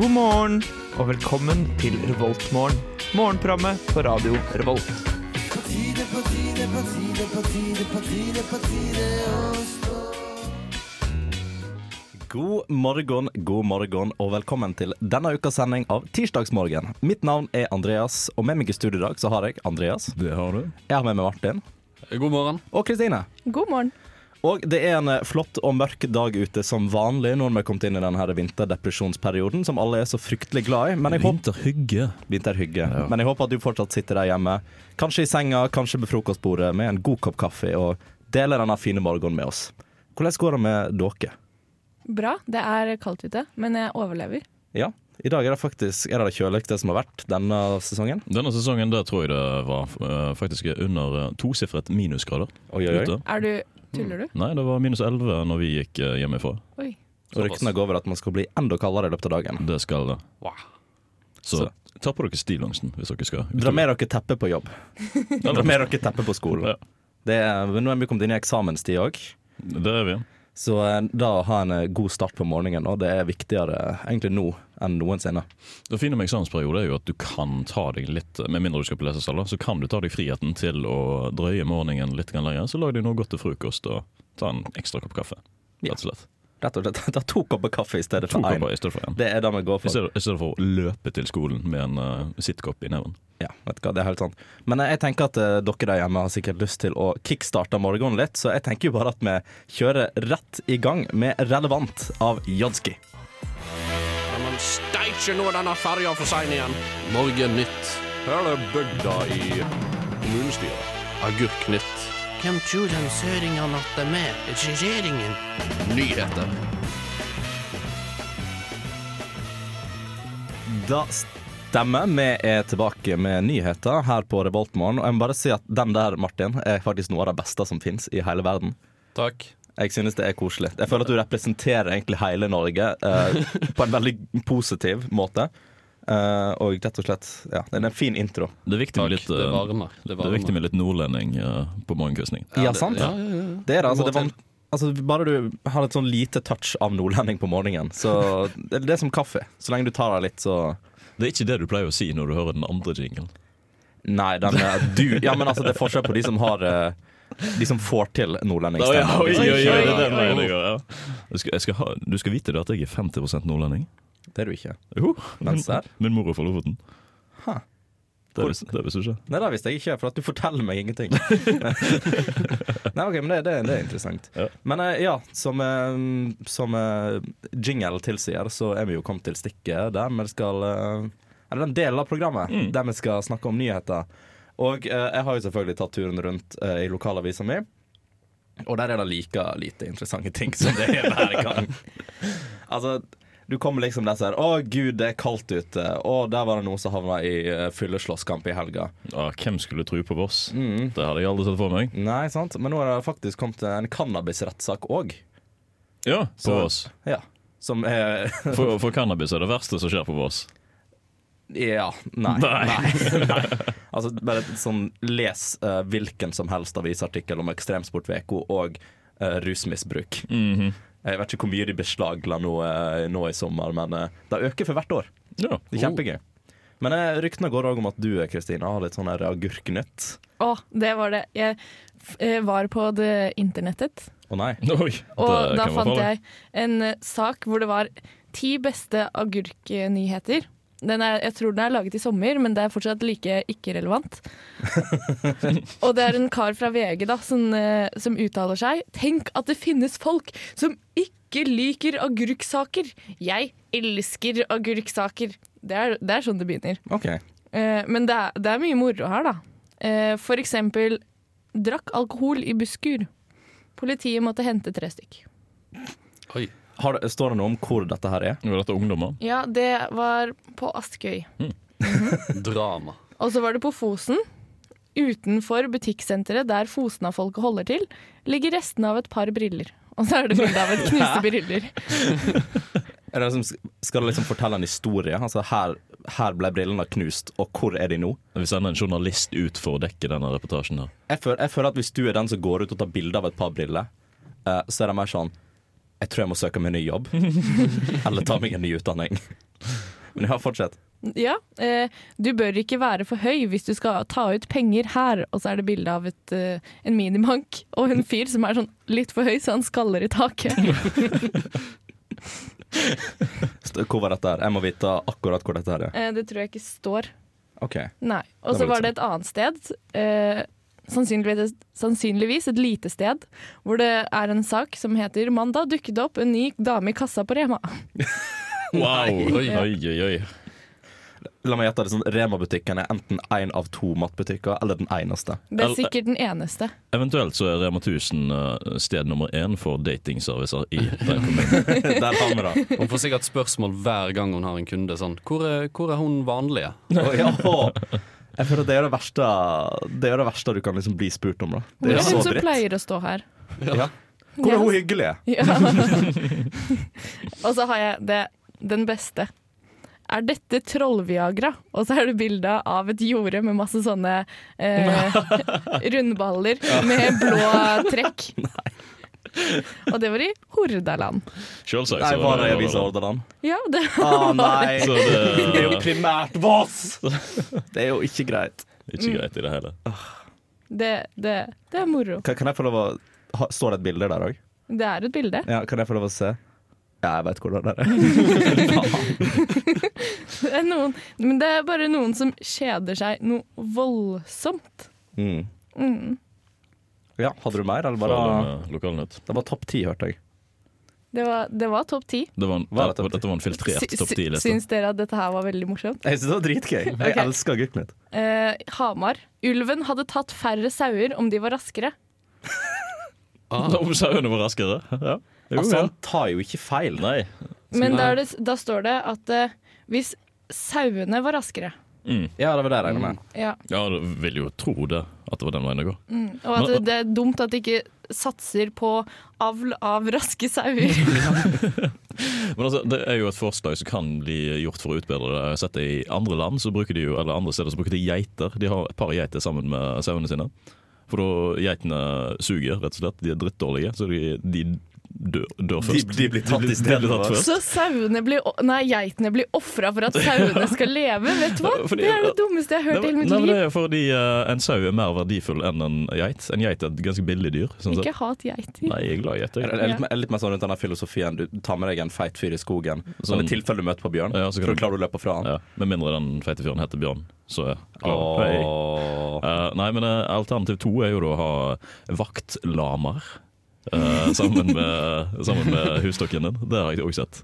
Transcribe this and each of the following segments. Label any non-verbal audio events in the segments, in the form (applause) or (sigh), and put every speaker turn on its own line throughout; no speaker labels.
God morgen og velkommen til Revoltmorgen. Morgenprogrammet på radio Revolt.
God morgen, god morgen, og velkommen til denne ukas sending av Tirsdagsmorgen. Mitt navn er Andreas, og med meg i studio i dag så har jeg Andreas.
Det har du.
Jeg har med meg Martin.
God morgen.
Og Kristine.
God morgen.
Og det er en eh, flott og mørk dag ute som vanlig når vi har kommet inn i denne her vinterdepresjonsperioden som alle er så fryktelig glad i. Men jeg håper
Vinterhygge.
vinterhygge. Men jeg håper at du fortsatt sitter der hjemme, kanskje i senga, kanskje ved frokostbordet, med en god kopp kaffe og deler denne fine morgenen med oss. Hvordan går det med dere?
Bra. Det er kaldt ute, men jeg overlever.
Ja, i dag er det faktisk er det, det kjøligste som har vært denne sesongen.
Denne sesongen der tror jeg det var eh, faktisk under eh, tosifret minusgrader.
Oi, oi, oi.
ute.
Er du Tuller du?
Nei, det var minus 11 når vi gikk eh, hjemmefra.
Oi.
Og ryktene går over at man skal bli enda kaldere i løpet av dagen.
Det skal det.
Wow.
Så ta på dere stillongsen hvis dere skal.
Dra med dere teppe på jobb. Dra med dere teppe på skolen.
Ja.
Det er, men nå er vi kommet inn i eksamenstid òg,
Det er vi.
så eh, da å ha en eh, god start på morgenen og det er viktigere eh, egentlig nå enn noensinne.
Det fine med eksamensperiode er jo at du kan ta deg litt eh, Med mindre du skal på lesesal, da, så kan du ta deg friheten til å drøye morgenen litt grann lenger. Så lag deg noe godt til frokost og ta en ekstra kopp kaffe. Rett og slett.
Rett og slett. (laughs) Ta to kopper kaffe i stedet
To
for én.
kopper i stedet for én.
Det er det vi går
I
for.
stedet, I stedet for å løpe til skolen med en uh, sittkopp i neven.
Ja, vet du hva, det er helt sant. Men eh, jeg tenker at eh, dere der hjemme har sikkert lyst til å kickstarte morgenen litt, så jeg tenker jo bare at vi kjører rett i gang med Relevant av Jodski.
Ja, men steikje, nå er denne ferja for sein igjen. Morgennytt. Her er bygda i kommunestyret. Agurknytt.
Hvem tror de søringene at de er? Regjeringen?
Nyheter.
Da stemmer. Vi er tilbake med nyheter her på Revoltmorgen. Og jeg må bare si at den der, Martin, er faktisk noe av det beste som fins i hele verden.
Takk.
Jeg synes det er koselig. Jeg føler at du representerer egentlig hele Norge eh, på en veldig positiv måte. Eh, og rett og slett Ja, det er en fin intro.
Det er viktig med litt,
Det
eh,
varmer. Det
det er viktig
varmer.
med litt nordlending eh, på morgenkvisten.
Ja, sant?
Ja, ja, ja.
Det er det. Altså,
Må
det var, altså, bare du har et sånn lite touch av nordlending på morgenen, så det, det er som kaffe. Så lenge du tar deg litt, så
Det er ikke det du pleier å si når du hører den andre jinglen.
Nei, den er du Ja, men altså, det er forskjell på de som har eh, De som får til nordlendingsstemmen.
oi, oi, oi,
det er den
oi, oi.
veien det går, ja. Jeg skal, jeg skal ha, du skal vite det at jeg er 50 nordlending.
Det er du ikke.
Jo,
Men
min,
serr?
min mor er fra Lofoten.
Ha.
Det vis- det visste du ikke.
Nei, det visste jeg ikke, for at du forteller meg ingenting. Nei, ok, men det, det, det er interessant.
Ja.
Men eh, ja, som, eh, som eh, jingle tilsier, så er vi jo kommet til stikket der vi skal eh, Eller den delen av programmet der vi skal snakke om nyheter. Og eh, jeg har jo selvfølgelig tatt turen rundt eh, i lokalavisa mi. Og der er det like lite interessante ting som det er hver gang. altså, du kommer liksom der sånn Å, gud, det er kaldt ute. Å, der var det noen som havna i eh, fylleslåsskamp i helga.
Ah, hvem skulle tro på Voss?
Mm.
Det hadde jeg aldri sett for meg.
Nei, sant? Men nå har det faktisk kommet en cannabisrettssak òg.
Ja, på
Så-
Voss.
Ja. Som er (laughs)
For, for cannabis er det verste som skjer på Voss.
Ja. Nei.
Nei.
Nei. (laughs) Altså, bare sånn les eh, hvilken som helst avisartikkel om Ekstremsportveko og eh, rusmisbruk. Jeg vet ikke hvor mye de beslagla nå, eh, nå i sommer, men eh, det øker for hvert år.
Ja.
Det er kjempegøy. Men eh, ryktene går òg om at du Kristina, har litt sånn her agurknytt.
Å, det var det. Jeg f- eh, var på det internettet,
Å nei.
Oi,
og
det
da
kan være
fant
farlig.
jeg en eh, sak hvor det var ti beste agurknyheter. Den er, jeg tror den er laget i sommer, men det er fortsatt like
(laughs)
ikke-relevant. og det er en kar fra VG da, som, eh, som uttaler seg. Tenk at det finnes folk som ikke liker agurksaker. Jeg elsker agurksaker. Det er, det er sånn det begynner.
OK.
Eh, men det er, det er mye moro her, da. Eh, for eksempel drakk alkohol i busskur. Politiet måtte hente tre stykk.
Oi.
Har, det- står det noe om hvor dette her er?
Var dette ungdommer?
Ja, det var på Askøy.
Drama.
Og så var det på Fosen. Utenfor butikksenteret der Fosna-folket holder til, ligger restene av et par briller. Og så er det bilde av et knuste briller.
Er det liksom, skal det liksom fortelle en historie? Altså her, her ble brillene knust, og hvor er de nå?
Vi sender en journalist ut for å dekke denne reportasjen. her
Jeg føler, jeg føler at Hvis du er den som går ut og tar bilde av et par briller, eh, så er (laughs) det mer sånn Jeg tror jeg må søke meg ny jobb. Eller ta meg en ny utdanning. Men ja, fortsett.
Ja, eh, du bør ikke være for høy hvis du skal ta ut penger her. Og så er det bilde av et, eh, en minibank og en fyr som er sånn litt for høy, så han skaller i taket.
St- Hvor var dette her? Jeg må vite akkurat hvor dette her er.
Eh, det tror jeg ikke står.
OK.
Nei. Og
Det
så
var
var det et annet sted, eh, sannsynligvis, sannsynligvis et lite sted, hvor det er en sak som heter 'Mandag dukket det opp en ny dame i kassa på Rema'.
Wow! Oi, oi, oi.
La meg gjette det sånn. Rema-butikken er enten én av to matbutikker, eller den eneste. (laughs)
Det er
Eller-
sikkert den eneste.
Eventuelt så er Rema 1000 eh, sted nummer én for datingservicer i den kommunen.
Der har vi det.
Hun får sikkert spørsmål hver gang hun har en kunde. Sånn, hvor, er, 'Hvor er hun vanlige?'
Å, ja. Jeg føler Det er jo det verste Det er jo det verste du kan liksom bli spurt om. da
Hvor
Det
er
er så
hun som
dritt.
pleier å
(laughs)
stå her?
Ja. Hvor er hun hyggelig?
Ja. og så har jeg det, den beste. Er dette Troll-Viagra? Og så er det bilde av et jorde med masse sånne
(laughs)
eh, rundballer med blå trekk.
(laughs)
Og det var i Hordaland.
Selvsagt.
Nei,
så-
var det i Avisa Hordaland?
Ja, det
Å Ah, nei!
Så det
Det er jo primært Voss! Det er jo ikke greit.
er ikke greit i det hele.
det, det, det er moro.
Kan, kan jeg få lov å ha, Står det et bilde der òg?
Det er et bilde.
Ja, kan jeg få lov å se? Ja, jeg veit hvordan det er.
(laughs) Det er noen, men det er bare noen som kjeder seg noe voldsomt.
Mm.
Mm.
Ja, hadde du mer, eller
Bare
bare
med lokalnytt.
Det var topp ti, hørte jeg.
Det var, det var topp ti.
Det var en,
Var det topp ti?
dette var en filtrert
Sy-
topp
sy-
10-liste. (laughs)
Syns dere at dette her var veldig morsomt?
Jeg syns det var dritgøy. Jeg
Ok.
elsker gutten mitt.
Eh, Hamar. Ulven hadde tatt færre sauer om de var raskere.
Ah,
Om sauene var raskere? Ja. Jo,
Altså,
ja.
han tar jo ikke feil.
Nei.
Men da, er det, da står det at eh, hvis sauene var raskere
Mm.
Ja, det var det jeg regna med.
ja.
Ja, du vil jo tro det, at det var den veien det går.
Og at det, det er dumt at de ikke satser på avl av raske
(laughs)
sauer.
Men altså, Det er jo et forslag som kan bli gjort for å utbedre det. Jeg har sett det I andre land så bruker de jo, eller andre steder så bruker de geiter. De har et par geiter sammen med sauene sine. For da geitene suger, rett og slett. De er drittdårlige, så de, de dør, dør
De,
først.
de blir tatt i stedet.
blir tatt
for.
først.
Så sauene blir o- Nei, geitene blir ofra for at sauene skal leve.
(laughs)
Vet du hva?
Fordi-
det er det dummeste jeg
Nei,
har hørt i hele
men-
mitt
nei, men
liv.
det er fordi eh, en sau er mer verdifull enn en geit. En geit er et ganske billig dyr. Sånn sett.
Ikke hat geiter.
Nei, jeg er glad i
Jeg
geiter.
er litt, jeg er litt mer sånn rundt denne filosofien. Du tar med deg en feit fyr i skogen, sånn i
Sånn.
tilfelle du møter på bjørn.
Ja, så kan
for
du-
da klarer du å løpe fra han.
Ja, med mindre den feite fyren heter Bjørn, så er jeg glad. Hei.
Åh.
Eh, nei, men eh, alternativ to er jo da å ha vaktlamer eh, sammen, med, (laughs) sammen med husstokken din. Det har jeg også sett.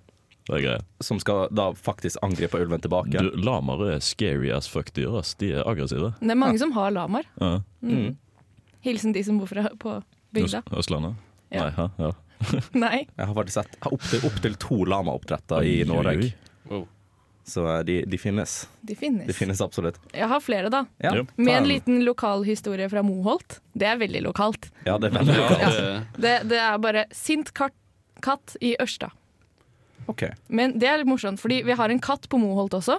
Det er greia.
Som skal da faktisk angripe ulven tilbake.
Du, lamer er scary as fuck dyr. ass. De er aggressive.
Det er mange som har lamaer.
Ja.
Mm.
Hilsen de som bor fra, på
Øst-
bygda.
Østlandet?
Ja.
Nei, hæ? Ja.
(laughs) Nei.
Jeg har faktisk sett opptil opp til to lamaoppdretter i
Oi, oi,
Norge.
oi.
wow.
Så eh, de, de finnes.
De finnes.
De finnes absolutt.
Jeg har flere, da.
Ja,
Jo.
Med en
Ta
liten lokal historie fra Moholt. Det er veldig lokalt.
ja det er veldig
Ja,
bra.
det,
Det, det er bare sint katt, katt i Ørsta.
Ok.
Men det er litt morsomt, fordi vi har en katt på Moholt også.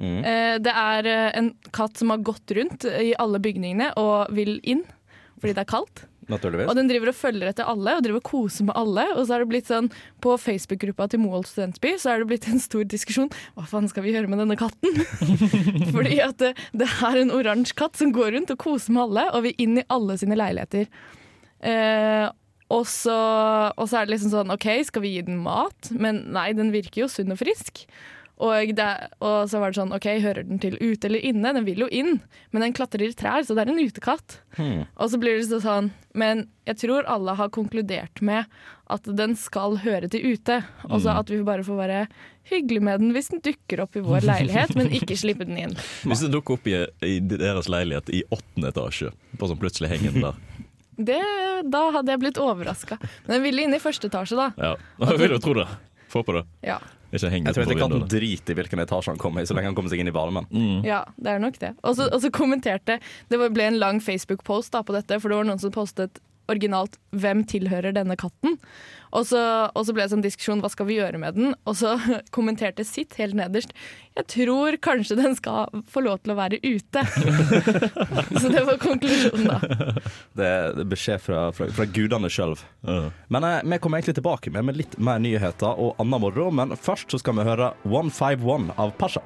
Mm.
Eh, det er eh, en katt som har gått rundt i alle bygningene og vil inn fordi det er kaldt. Og
Naturligvis.
den driver og følger etter alle og driver og koser med alle. Og så er det blitt sånn, På Facebook-gruppa til Moholt studentby så er det blitt en stor diskusjon. Hva faen skal vi gjøre med denne katten? (laughs) Fordi at det, det er en oransje katt som går rundt og koser med alle, og vil inn i alle sine leiligheter. Eh, og, så, og så er det liksom sånn OK, skal vi gi den mat? Men nei, den virker jo sunn og frisk. Og, det, og så var det sånn OK, hører den til ute eller inne? Den vil jo inn, men den klatrer i trær, så det er en utekatt. Og så blir det så sånn Men jeg tror alle har konkludert med at den skal høre til ute. Og så at vi bare får være hyggelige med den hvis den dukker opp i vår leilighet, men ikke slippe den inn.
Hvis det dukker opp i, i deres leilighet i åttende etasje, bare sånn plutselig henger den der
Det, da hadde jeg blitt overraska. Men den ville inn i første etasje, da.
(laughs) ja. Jeg vil jo tro det. Få på det.
Ja,
Ikke heng
Jeg tror
utenfor
ikke katten
vinduet.
driter i hvilken etasje han kommer i, så lenge han kommer seg inn i varmen.
Mm.
ja det er nok det. Og så og så kommenterte Det var- ble en lang Facebook-post da på dette, for det var noen som postet originalt 'Hvem tilhører denne katten?' Og så, og så ble det sånn diskusjon 'Hva skal vi gjøre med den?' Og så (laughs) kommenterte Sitt helt nederst 'Jeg tror kanskje den skal få lov til å være ute'. (laughs) så det var konklusjonen, da.
Det er beskjed fra, fra, fra gudene sjøl. Men eh, vi kommer egentlig tilbake med, med litt mer nyheter og annen moro, men først så skal vi høre 151 av Pasha.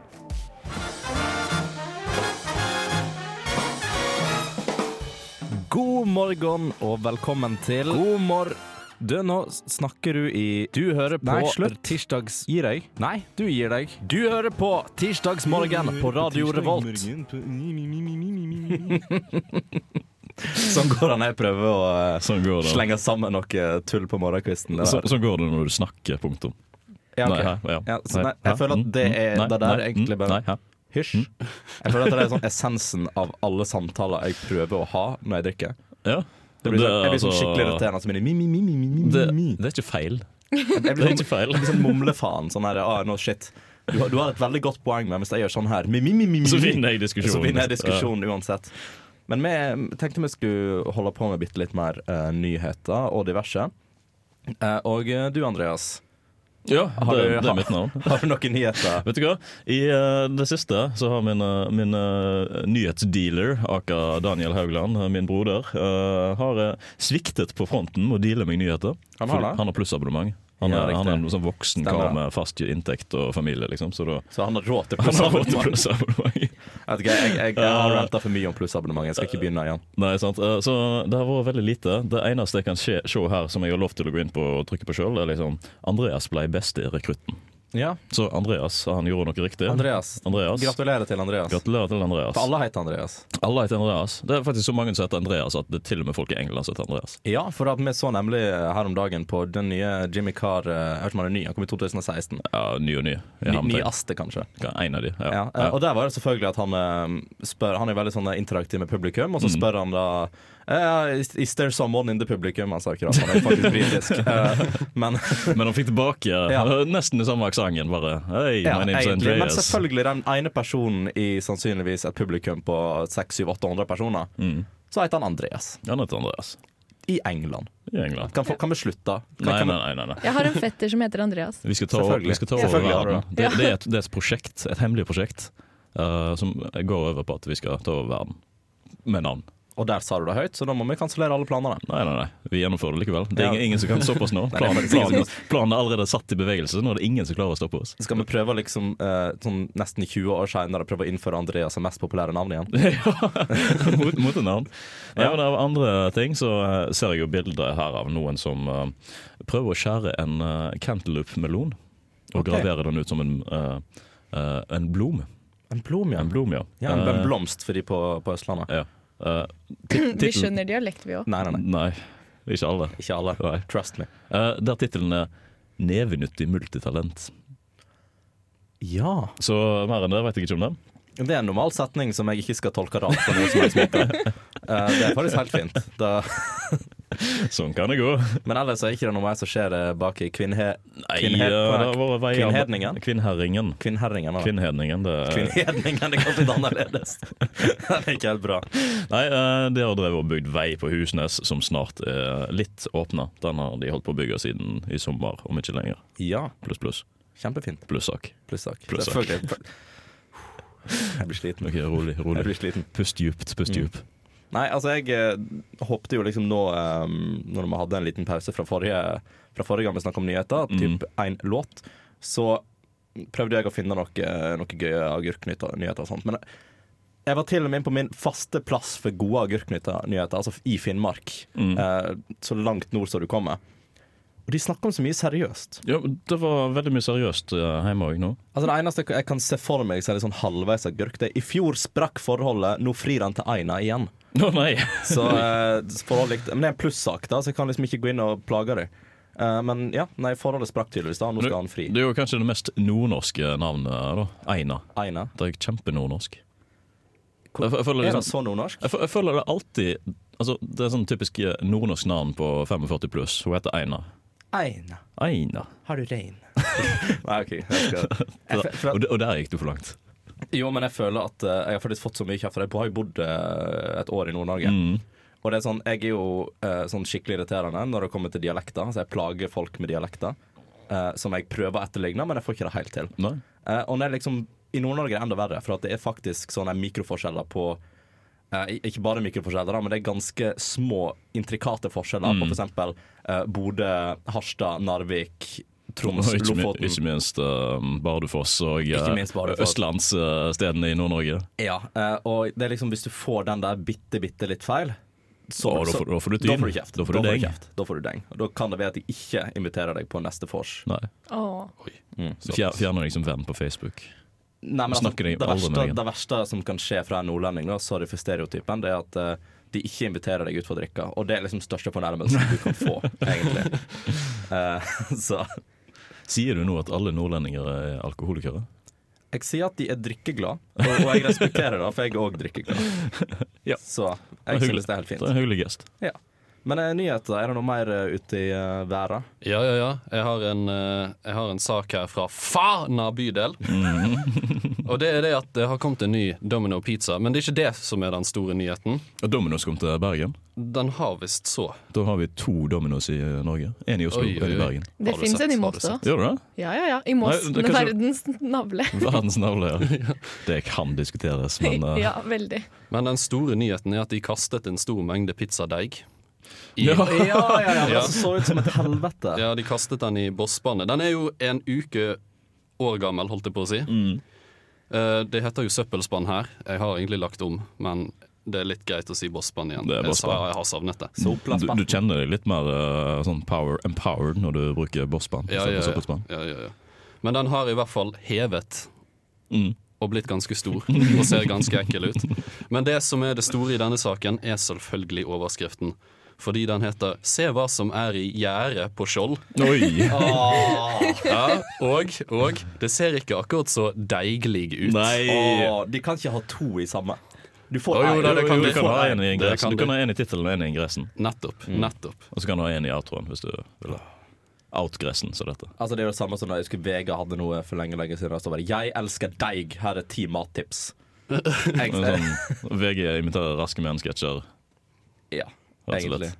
God morgen og velkommen til God morgen. Du, nå snakker du i Du hører på
Nei, slutt.
tirsdags... Gir deg? Nei, du gir deg. Du hører på Mm, Tirsdagsmorgen på Radio Revolt. Sånn går det når jeg prøver å eh,
Sånn går det.
slenge sammen noe eh, tull på morgenkvisten. Det
Så,
der.
sånn går det når du snakker, punktum.
Ja, ok.
Nei, hæ, ja.
Ja, så
Nei,
nei, jeg
hæ,
føler at
mm,
det, er,
mm, nei,
det der er
nei,
egentlig
mm,
bare
Nei, Mm. hæ.
Hysj. Jeg føler at det er sånn essensen av alle samtaler jeg prøver å ha når jeg drikker.
Ja.
Det blir
Det
sånn, jeg blir sånn
altså-
skikkelig irriterende som mi, mi, mi, mi, mi, mi,
Det,
mi.
det er ikke feil.
Jeg
Det
blir
er
sånn,
ikke feil.
jeg blir sånn mumlefaen. Sånn her, ah, no shit. Du, har- du har et veldig godt poeng, men hvis jeg gjør sånn her mi, mi, mi, mi, mi,
Så
mi,
vinner jeg diskusjonen.
Så vinner jeg diskusjonen uansett. Men vi tenkte vi skulle holde på med bitte litt mer eh, nyheter og diverse. Eh, og eh, du, Andreas,
Ja,
Har
det,
du-
det er mitt navn.
har du noen nyheter?
Vet du hva? I eh, det siste så har min, eh, min eh, nyhetsdealer, aka Daniel Haugland, eh, min broder, eh, har eh, sviktet på fronten med å deale meg nyheter.
Han har
Fordi
det?
Han har plussabonnement. Han
Ja,
er, han er en
riktig.
sånn voksen
Stemmer
kar
det.
med fast inntekt og familie, liksom. Så da
Så han har råd til
han har råd til
plussabonnement?
plussabonnement.
Jeg vet ikke, jeg, jeg, jeg har renta for mye om plussabonnement. Jeg skal ikke begynne igjen.
Nei, sant. Eh, Så det har vært veldig lite. Det eneste jeg kan se, se her som jeg har lov til å gå inn på og trykke på sjøl, er liksom Andreas ble beste rekrutten.
Ja,
Så Andreas, han gjorde noe riktig.
Andreas.
Andreas.
Gratulerer til Andreas.
Gratulerer til Andreas.
For alle heter Andreas.
Alle heter Andreas. Det er faktisk så mange som heter Andreas at det er til og med folk i England som heter Andreas.
Ja, for at vi så nemlig eh, her om dagen på den nye Jimmy Carr eh, Jeg vet ikke om han er ny, han kom i 2016.
Ja, ny og ny. i
Ny,
hermetegn.
ny Aste, kanskje.
Ja, en av de. Ja.
Ja, eh,
Ja.
Og der var det selvfølgelig at han eh, spør Han er veldig sånn eh, interaktiv med publikum, og så
Mm.
spør han da eh, is, is there someone in the publikum? Han sa ikke det, han er
(laughs)
faktisk britisk. Eh, men
Men han fikk
(laughs)
tilbake
Ja.
(laughs) nesten den samme aksenten, bare. Hey,
ja,
my name's
egentlig. Men
Andreas.
selvfølgelig, den ene personen i sannsynligvis et publikum på 600-800 personer,
Mm.
så heter han Andreas.
Han heter Andreas.
I England.
I England.
Kan, folk- kan vi slutte? Kan,
Nei,
kan vi-
nei, nei. nei, nei.
Jeg har en fetter som heter Andreas.
Vi skal ta, over-
Selvfølgelig.
vi skal ta over
Selvfølgelig har du
verden. Det, det, er et, det er et prosjekt, et hemmelig prosjekt, eh, som går over på at vi skal ta over verden. Med navn.
Og der sa du det høyt, så da må vi kansellere alle planene.
Nei, nei, nei. Vi gjennomfører det likevel. Det er ingen,
Ja.
ingen som kan stoppe oss
(laughs)
nå.
det er
Planen,
faktisk ingen som
planen, planen er allerede satt i bevegelse. Nå er det ingen som klarer å stoppe
(laughs)
oss. (laughs)
Så skal vi prøve liksom eh, sånn nesten 20 år seinere prøve å innføre Andreas som mest populære navn igjen.
mot, mot en annen. Nei, men av andre ting så eh, ser jeg jo bilder her av noen som eh, prøver å skjære en eh, cantaloupe-melon. Og
Ok.
gravere den ut som en, eh, eh, en blom.
En blom, ja.
En blom, ja.
ja en,
Eh,
en blomst for de på, på Østlandet.
ja. Eh,
Mm, Vi skjønner dialekt, vi òg.
Nei, nei, nei.
nei, ikke alle.
Ikke alle.
Nei.
Trust me.
Eh, der tittelen er 'Nevenyttig multitalent'.
Ja.
Så mer enn det vet jeg ikke om det.
Det er en normal setning som jeg ikke skal tolke rart på noe som helst måte.
(laughs)
Eh, det er faktisk helt fint. Da,
Sånn kan det gå.
men ellers er ikke det noe mer som skjer eh, bak i kvinnhe...
Nei,
Kvinnhe-
eh, det har vært veier-
Kvinnhedningen? Ah.
Kvinnherringen.
Kvinnherringen. (laughs) da.
Kvinnhedningen, det er
Kvinnhedningen er kanskje litt (laughs) annerledes. Den er ikke helt bra.
Nei, eh, de har drevet og bygd vei på Husnes som snart er litt åpna. Den har de holdt på å bygge siden i sommer, om ikke lenger.
Ja,
Pluss, pluss.
kjempefint.
Plussak.
Plussak.
Plussak.
Selvfølgelig. Jeg blir sliten.
Ok, rolig,
Jeg
rolig.
blir sliten.
Pust djupt, pust
Mm.
djupt.
Nei, altså jeg eh, håpte jo liksom nå um, Når vi hadde en liten pause fra forrige, fra forrige gang vi snakket om nyheter, typ en låt, så prøvde jeg å finne noe, eh, noe gøye agurknyheter og sånt. Men jeg var til og med inne på min faste plass for gode agurknyheter, altså i Finnmark. eh, så langt nord som du kommer. Og de snakker om så mye seriøst.
Ja, men det var veldig mye seriøst eh, hjemme òg nå.
Altså Det eneste jeg kan se for meg, så er det sånn halvveis agurk. Det er i fjor sprakk forholdet, nå frir han til Aina igjen.
Å nei!
Så eh, forhold likte Men det er en plussak, da, så jeg kan liksom ikke gå inn og plage deg. Eh, men ja, nei, forholdet sprakk tydeligvis, da. Nå
Det
skal han fri.
er jo kanskje det mest nordnorske navnet, da. Eina.
Aina.
Det er kjempenordnorsk.
Hvor-
Jeg, jeg, føler
Er han
liksom,
så nordnorsk?
jeg, fø- jeg føler det alltid Altså, Det er sånn typisk eh, nordnorsk navn på 45 pluss. Hun heter Eina.
Aina.
Eina.
Har du rein? nei, OK. Jeg skal jeg, fe- for
Og,
at,
det- og der gikk du for langt. Mm.
Jo, men jeg føler at eh, jeg har faktisk fått så mye kjeft, for jeg har bodd eh, et år i Nord-Norge. Og det er sånn, Jeg er jo eh, sånn skikkelig irriterende når det kommer til dialekter, så jeg plager folk med dialekter. eh, som jeg prøver å etterligne, men jeg får ikke det helt til.
Nei.
Eh, og det er liksom, I Nord-Norge er det enda verre, for at det er faktisk sånne mikroforskjeller på eh, Ikke bare mikroforskjeller, da, men det er ganske små, intrikate forskjeller på
Mm.
f.eks. Uh, Bodø, Harstad, Narvik, Troms,
Og ikke, mi-
Lofoten.
ikke minst eh, Bardufoss og
Ikke minst Bardufoss.
østlandsstedene i Nord-Norge.
Ja, eh, og det er liksom hvis du får den der bitte, bitte litt feil så,
Å, da får- da får du tyn.
da får du kjeft.
Da får du deng.
kjeft. Da får du deng. Og da kan det være at jeg ikke inviterer deg på neste vors.
Nei.
Åh.
Så fjer- Fjerner deg som venn på Facebook.
Nei, men
Snakker
altså,
jeg
det,
aldri med
verste,
deg igjen?
det verste som kan skje fra en nordlending, da, sorry for stereotypen, det er at eh, de ikke inviterer deg ut for å drikke. Og det er liksom største fornærmelsen du kan
(laughs)
få, egentlig. Eh, så
Sier du nå at alle nordlendinger er alkoholikere?
jeg sier at de er drikkeglad, og, og jeg respekterer det, for jeg er òg drikkeglad.
Ja.
Så
Det er
jeg
hyggelig.
synes det er helt
Det er
fint.
en hyggelig gest.
Ja. Men eh, nyheter, er det noe mer eh, ute i uh, verden?
Ja, ja, ja. Jeg har en, eh, jeg har en sak her fra Fana bydel. Og det er det at det har kommet en ny Domino pizza. Men det er ikke det som er den store nyheten.
Og Dominos kom til Bergen.
Den har visst så.
Da har vi to Dominos i Norge. En i Oslo
Oi,
og en i
oi, oi.
Bergen.
Det
Har du
fins
sett,
en i
har du
Moss
sett?
også.
Gjør du det?
Ja, ja, ja. I Moss.
Nei, det
Den
er
er
kanskje-
verdens navle.
Verdens navle, ja. Det kan diskuteres,
(laughs)
men eh,
Ja, veldig.
Men den store nyheten er at de kastet en stor mengde pizzadeig. I,
Ja.
Ja, ja, ja.
Ja.
Det så ut som et helvete.
Ja, de kastet den i bosspannet. Den er jo en uke år gammel, holdt jeg på å si.
Mm.
Eh, det heter jo søppelspann her. Jeg har egentlig lagt om, men det er litt greit å si bosspann igjen.
Det er
Jeg sa-
bosspann.
Jeg har savnet det.
du, du kjenner deg litt mer eh, sånn power empowered når du bruker bossband.
Ja, ja, ja. (laughs) ja, ja, ja. Men den har i hvert fall hevet
Mm.
og blitt ganske stor og ser ganske ekkel ut. Men det som er det store i denne saken, er selvfølgelig overskriften. Fordi den heter 'Se hva som er i gjerdet på Skjold'.
(laughs) Oi!
Ja, og, og det ser ikke akkurat så deiglig ut.
Nei!
Å, de kan ikke ha to i samme. Du får
Å, jo,
en.
da, det kan
du,
de.
kan ha en i
Det
ingressen.
kan
Du kan
de.
ha en i tittelen og en i ingressen.
Nettopp.
Mm.
nettopp
Og så kan du ha en i outroen, hvis du vil ha. Outgressen, så
(laughs)
dette.
Altså Det er jo det samme som da jeg husker Vega hadde noe for lenge lenge siden. Der stod bare 'Jeg elsker deig, her er ti
(laughs)
mattips'. Jeg,
Det er Sånn, VG imiterer Raske menn-sketsjer.
ja,
Rett og slett.
egentlig.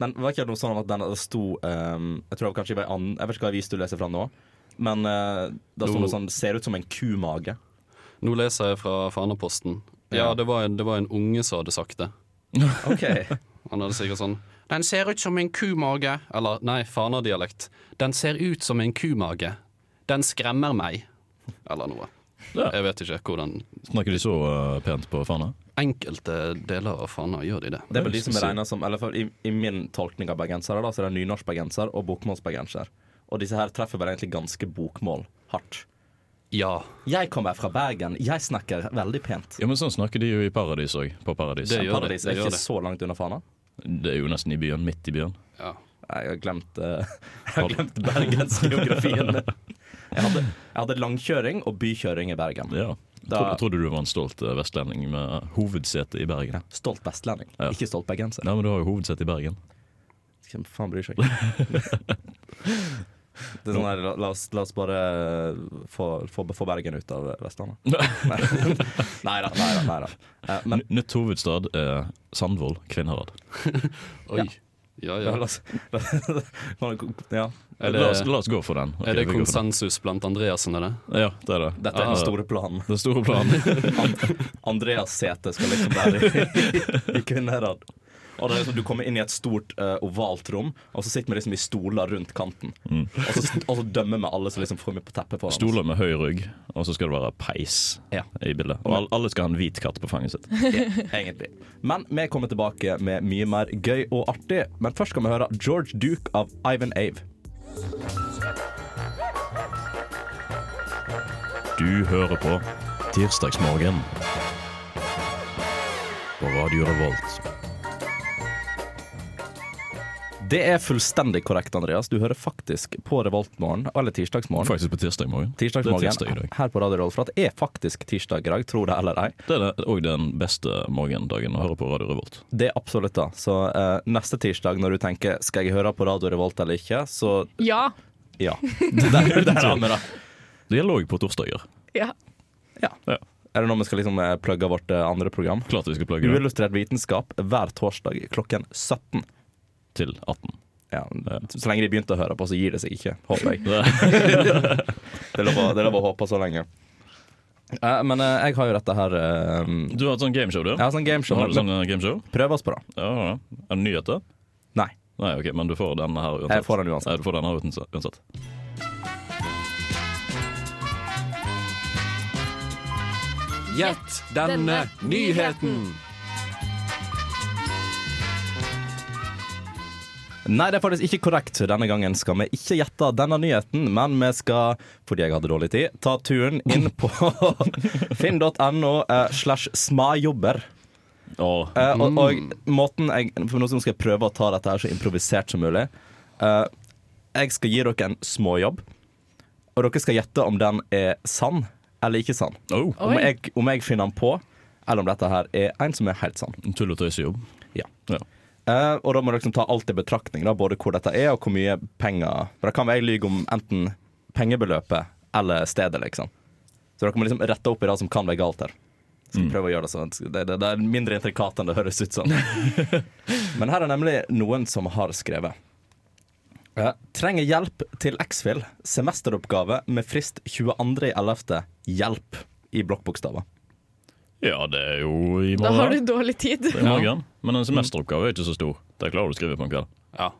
Men var ikke det noe sånn at den det sto ehm, Jeg tror det var kanskje i en annen Jeg vet ikke hva avis du leser fra nå, men uh, da sto
Nå-
det sånn 'Ser ut som en kumage'.
Nå leser jeg fra Fanaposten. Ja,
Ja.
det var, en, det var en unge som hadde sagt det.
OK.
Han hadde sikkert sånn
Den ser ut som en kumage.
Eller nei, Fana-dialekt. Den ser ut som en kumage. Den skremmer meg. Eller noe.
Ja.
Jeg vet ikke hvordan
Snakker de så eh, pent på Fana?
Enkelte deler av Fana gjør de det.
Det er vel de som regner som Eller for, i, i min tolkning av bergensere, da, så er det nynorskbergenser og bokmålsbergenser. Og disse her treffer vel egentlig ganske bokmål hardt.
Ja,
Jeg kommer fra Bergen, jeg snakker veldig pent.
Ja, men sånn snakker de jo i Paradis òg. På Paradis.
Det
Det,
gjør det,
Paradis er
det gjør
ikke
det.
så langt unna Fana.
er jo nesten i byen. Midt i byen.
ja.
Nei, Jeg har glemt, eh, (laughs) jeg har glemt bergensgeografien. Jeg hadde, jeg hadde langkjøring og bykjøring i Bergen.
Ja.
Da-
Trodde, trodde du var en stolt eh, vestlending med hovedsete i Bergen.
Stolt vestlending,
Ja.
ikke stolt bergenser.
Nei, men du har jo hovedsete i Bergen.
Hvem faen bryr seg? (laughs) Det er sånn her, la, la, oss, la oss bare eh, få, få, få Bergen ut av
(laughs)
Vestlandet. (laughs) Nei Nei da, nei da. nei da. Eh, Men
Men, Nytt hovedstad er Sandvoll, Kvinnherad.
Oi. Ja,
ja,
ja.
la oss ja.
Er
La oss,
det,
la oss gå for den. Ok,
er det
vi går for den.
konsensus blant Andreassen, er det?
Ja, det er det.
Dette er
Ja,
den store (laughs) planen.
Den store planen.
Andreas sete skal liksom være i, i Kvinnherad. Og det er liksom, Du kommer inn i et stort eh, ovalt rom, og så sitter vi liksom i stoler rundt kanten. Og, så, og så dømmer vi alle som liksom får med på teppet foran
Mm. Stoler med høy rygg, og så skal det være peis
Ja.
i bildet. Og al- alle skal ha en hvit katt på fanget sitt.
oss. Ja, egentlig. Men vi kommer tilbake med mye mer gøy og artig. Men først skal vi høre George Duke av Ivan Ave.
Du hører på Tirsdagsmorgen på Radio Revolt.
Det er fullstendig korrekt, Andreas. Du hører faktisk på Revoltmorgen eller Tirsdagsmorgen.
Faktisk på tirsdag morgen.
Tirsdagsmorgen
Det er tirsdag i dag.
her på Radio Rolf, for at det er faktisk tirsdag i dag, tro det eller ei.
Det er det- og den beste morgendagen å høre på Radio Revolt.
Det er absolutt da. Så eh, neste tirsdag når du tenker skal jeg høre på Radio Revolt eller ikke, så
Ja.
(laughs)
ja. Der, der har vi det.
Det gjelder òg på torsdager.
ja.
Ja. Er det nå vi skal liksom eh, plugge vårt eh, andre program?
Klart vi skal plugge det
Uillustrert vitenskap hver torsdag klokken 17.
til 18.
Ja,
Ja.
så lenge de begynte å høre på, så gir (laughs) det seg ikke, håper jeg.
Det,
Det er lov å- det er lov å håpe så lenge. Eh, men eh, jeg har jo dette her eh,
du har et sånt gameshow, du?
Jeg har sånn gameshow.
Har du
men-
sånn eh, gameshow?
Prøv oss på, da.
Ja, ja. Er det nyheter?
Nei.
Nei, ok, men du får denne her uansett.
Jeg får den uansett.
Ja, du får denne her uansett- uansett.
Gjett
denne nyheten.
Nei, det er faktisk ikke korrekt. Denne gangen skal vi ikke gjette denne nyheten, men vi skal, fordi jeg hadde dårlig tid, ta turen inn på (laughs) finn.no eh, slash smajobber.
Åh,
Eh, og, og måten jeg For nå skal jeg prøve å ta dette her så improvisert som mulig. Eh, jeg skal gi dere en småjobb, og dere skal gjette om den er sann eller ikke sann.
oh,
Oi.
Om jeg, om jeg finner den på, eller om dette her er en som er helt sann.
en tull- og tøysejobb.
Ja.
Ja.
Eh, og da må dere liksom ta alt i betraktning, da, både hvor dette er og hvor mye penger For da kan jeg lyge om enten pengebeløpet eller stedet, liksom. Så dere må liksom rette opp i det som kan være galt her. Skal prøve å gjøre Det sånn det, det, det er mindre intrikat enn det høres ut (laughs) som. Men her er nemlig noen som har skrevet. Eh, trenger hjelp til X-Fill. Semesteroppgave med frist 22.11. Hjelp i blokkbokstaver.
Ja, det er jo i morgen.
Da har du dårlig tid.
I morgen. Men en semesteroppgave er ikke så stor. Det klarer du å skrive på en kveld.
Ja.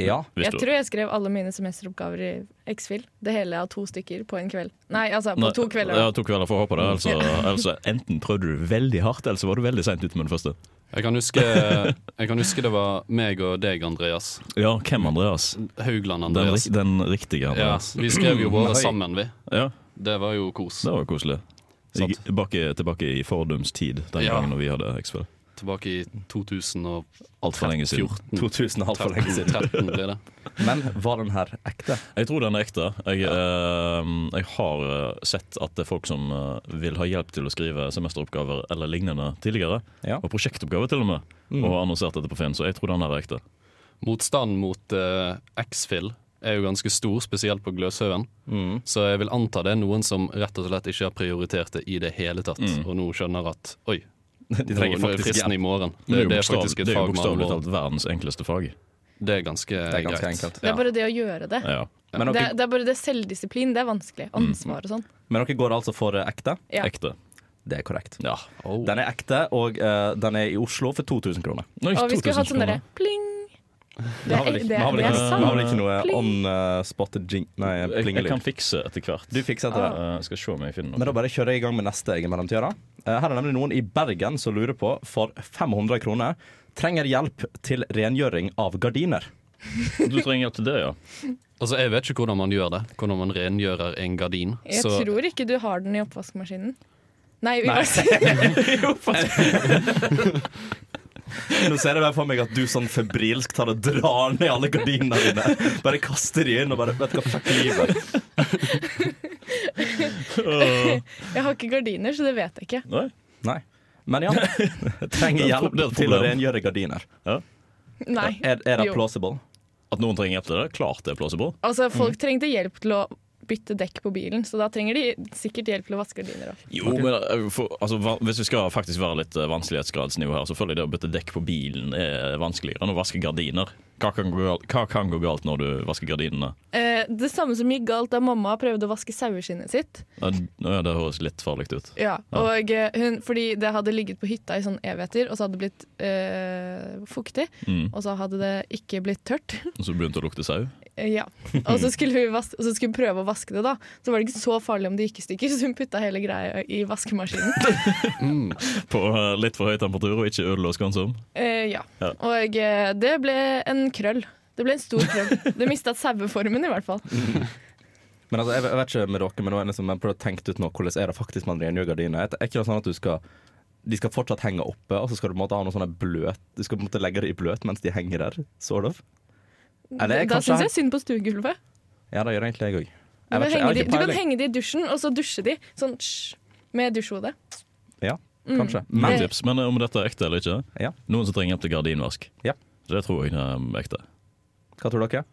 Ja.
Hvis
Jeg
du-
tror jeg skrev alle mine semesteroppgaver i X-Fil. Det hele av to stykker på en kveld. Nei, altså på
Nei,
to kvelder.
Ja, to kvelder, får håpe det. Altså, (laughs) altså, enten prøvde du veldig hardt, eller så var du veldig seint ute med den første.
Jeg kan, huske, jeg kan huske det var meg og deg, Andreas.
Ja, hvem Andreas?
Haugland
Den,
Andreas.
rik- den riktige
Ja,
Andreas.
vi skrev jo våre
Oi.
sammen, vi.
Ja,
Det var jo kos.
det var jo koselig. Jeg,
Sant.
tilbake, tilbake i fordums tid, den
Ja.
gangen når vi hadde X-Fill.
Tilbake i 2000 og
Altfor lenge siden.
Mm. 2000 halvt for lenge siden.
13 blir det.
Men var den her ekte?
Jeg tror den er ekte. Jeg, eh, jeg har eh, sett at det er folk som eh, vil ha hjelp til å skrive semesteroppgaver eller lignende tidligere.
Ja.
Og prosjektoppgaver, til og med. Og har annonsert dette på Finn, så jeg tror den her Mm. er ekte.
Motstanden mot eh, X-Fill er jo ganske stor, spesielt på Gløshaugen.
Mm.
Så jeg vil anta det er noen som rett og slett ikke har prioritert det i det hele tatt,
Mm.
og nå skjønner at oi,
De
nå,
trenger
nå er
faktisk
fristen
hjelp.
i morgen.
Det er
Det,
jo
det er
bokstav-
faktisk et
det er jo
fag med
bokstavelig
alvor.
talt verdens enkleste fag.
Det er ganske,
Det er ganske
greit.
enkelt.
Det
Ja.
er bare det å gjøre det.
Ja.
Men Mm,
Det,
dere,
er- det er bare det selvdisiplin. Det er vanskelig. Ansvar og sånn.
men dere går altså for eh, ekte?
Ja.
Ekte.
Det er korrekt.
Ja.
Oh.
Den er ekte, og eh, den er i Oslo for 2000 kroner.
Nå,
Og vi
2000
skulle hatt sånn
kroner.
derre pling.
Vi
Det
har
er,
vel ikke,
det,
vi har vel
er-
ikke,
det er
eh,
vi har
sant.
vel ikke noe
Pling.
on-spotted jing... Nei,
Jeg, jeg
plingelyd.
kan fikse etter hvert.
Du fikser
Ah.
etter det.
Eh, skal se om jeg finner
Men
noe.
da bare kjører jeg i gang med neste jeg i mellomtida. da. Eh, Her er nemlig noen i Bergen som lurer på, for 500 kroner, trenger hjelp til rengjøring av gardiner.
Du trenger hjelp til det, ja.
Altså, jeg vet ikke hvordan man gjør det, hvordan man rengjører en gardin.
Jeg
så
tror ikke du har den i oppvaskmaskinen. Nei, uansett.
(laughs) Nå ser jeg bare for meg at du sånn febrilsk tar og drar ned alle gardinene dine. Bare kaster de inn og bare Vet du hva, fuck livet.
Jeg har ikke gardiner, så det vet jeg ikke.
Nei?
Nei.
(laughs)
Men ja. Trenger
Det er et
hjelp
pro- det er et
til å
problem.
rengjøre gardiner.
Nei.
Er, er det
Jo.
plausible?
At noen trenger hjelp til det? Klart det er plausible.
Altså,
Mm.
folk trengte hjelp til å bytte dekk på bilen, så da trenger de sikkert hjelp til å vaske gardiner òg.
Jo, men eh, for, altså, va- Hvis vi skal faktisk være litt eh, vanskelighetsgradsnivå her, så føler jeg det å bytte dekk på bilen er vanskeligere enn å vaske gardiner. Hva kan gå galt, hva kan gå galt når du vasker gardinene?
Eh, det samme som gikk galt da mamma prøvde å vaske saueskinnet sitt.
Ja, d- ja, det høres litt farlig ut.
Ja, og eh, hun, Fordi det hadde ligget på hytta i sånn evigheter, og så hadde det blitt eh, fuktig.
Mm.
Og så hadde det ikke blitt tørt.
Og så begynte det å lukte sau.
Eh, ja. Og så skulle hun vas- og så skulle hun prøve å vaske det, da. Så var det ikke så farlig om det gikk i stykker, (laughs) så hun putta hele greia i vaskemaskinen.
På eh, litt for høy temperatur og ikke ødeløs skånsom.
Eh, ja.
Ja.
Og eh, det ble en krøll. Det ble en stor krøll. Det mista saueformen, i hvert fall.
Men altså, jeg, jeg vet ikke med dere, men nå er det liksom, jeg prøver å tenke ut nå hvordan er det faktisk man rengjør gardiner. Er ikke det sånn at du skal de skal fortsatt henge oppe, og så skal du på en måte ha noe sånne bløt Du skal på en måte legge det i bløt mens de henger der. Sort of. Eller
da
kanskje-
syns jeg synd på stuegulvet.
Ja, det gjør egentlig jeg òg.
Du kan, henge de, du kan
peiling.
henge de i dusjen, og så dusje de sånn tsj, med dusjhode.
Ja, kanskje.
Men,
Men
Det-
tips. Men eh, om dette er ekte eller ikke?
Ja.
Noen som trenger hjelp til gardinvask?
Ja.
Det tror jeg er um, ekte.
hva tror dere?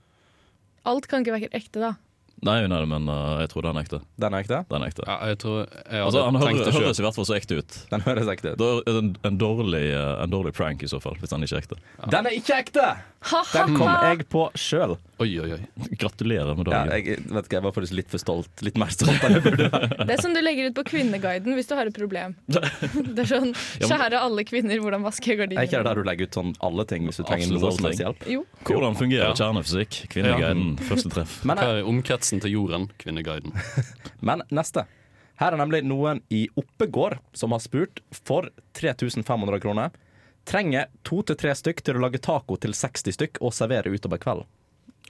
Alt kan ikke være ekte, da.
Nei, nei, men eh, jeg tror den er ekte.
Den er ekte?
Den er ekte.
Ja, jeg tror jeg hadde
Altså, han
tenkt
hører,
det
høres
sjøl.
i hvert fall så ekte ut.
Den høres ekte ut.
Da er det en, en, dårlig, eh, en dårlig prank i så fall, hvis den ikke er ekte.
Den er ikke ekte! Den kom jeg på sjøl.
Oi, oi, oi.
Gratulerer med
Ja,
dagen.
jeg, vet ikke, jeg var faktisk litt for stolt. Litt mer stolt (laughs) enn jeg burde.
Det er som du legger ut på Kvinneguiden hvis du har et
(laughs)
problem. Det er sånn Kjære alle kvinner, hvordan vasker jeg
Er ikke det
gardiner?
der du legger ut sånn alle ting hvis du trenger
Absolutt
noe
alle
som helst
ting.
hjelp?
Jo.
Hvordan fungerer kjernefysikk? Kvinneguiden, første treff.
Men, eh,
Hva er omkretsen til jorden? Kvinneguiden.
men neste. Her er nemlig noen i Oppegård som har spurt for 3500 kroner. Trenger to til tre stykk til å lage taco til 60 stykk og servere utover kvelden.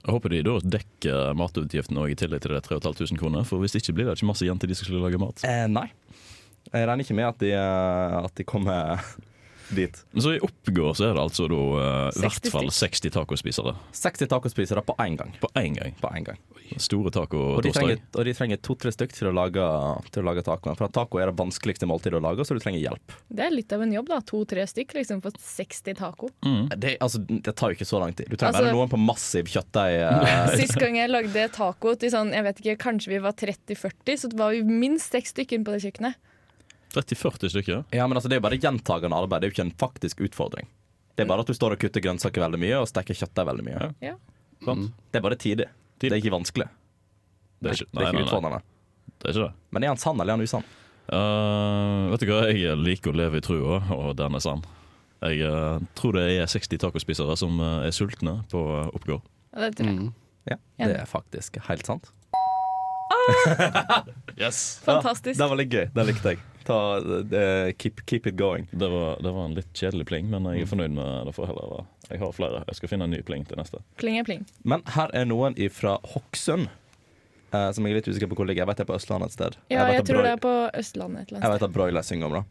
Jeg håper de da dekker matutgiftene også i tillegg til de 3500 kroner, for hvis ikke blir det ikke masse igjen til de som skulle lage mat.
Eh, nei. Jeg regner ikke med at de, eh, at de kommer (laughs) dit.
Men så i oppgår så er det altså da eh, i
60
hvert fall 60 tacospisere
60 tacospisere på én gang.
på én gang.
På en gang.
Store
Og de trenger,
tacotorsdag.
og de trenger to-tre stykk til å lage, til å lage tacoen. For at taco er det vanskeligste måltidet å lage, så du trenger hjelp.
Det er litt av en jobb, da. To-tre stykk liksom, for 60 taco.
Det, altså, det tar jo ikke så lang tid. Du trenger
Altså-
bare noen på massiv (laughs) kjøttdeig. eh,
Sist gang jeg lagde taco til sånn, jeg vet ikke, kanskje vi var 30-40, så det var vi minst seks stykker på det kjøkkenet.
30-40 stykker.
Ja, men altså, Det er jo bare gjentagende arbeid, det er jo ikke en faktisk utfordring. Det er bare at du står og kutter grønnsaker veldig mye og steker kjøttdeig veldig mye.
Ja.
Sant?
Det er bare tidlig. Det er ikke vanskelig.
Det er ikke,
det
nei,
er ikke
nei, nei,
utfordrende.
det er ikke det.
Men er han sann eller er han usann?
Eh, vet du hva, jeg liker å leve i trua, og den er sann. Jeg eh, tror det er 60 tacospisere som eh, er sultne på uh, Oppgård.
Og det
Mm.
tror jeg.
Mm.
Ja, det er faktisk helt sant.
Yes!
Fantastisk.
Det var litt gøy. Det likte jeg. Ta, eh, keep, keep it going.
Det var, det var en litt kjedelig pling, men jeg er fornøyd med det. for heller være. Jeg har flere. Jeg skal finne en ny pling til neste.
Pling er pling.
Men her er noen fra Hokksund, eh, som jeg er litt usikker på hvor ligger. Jeg vet det er på Østlandet et sted.
Ja,
vet
jeg
at
tror det
Broil-
er på Østlandet et eller
Jeg
annet
vet at Broiler synger om det.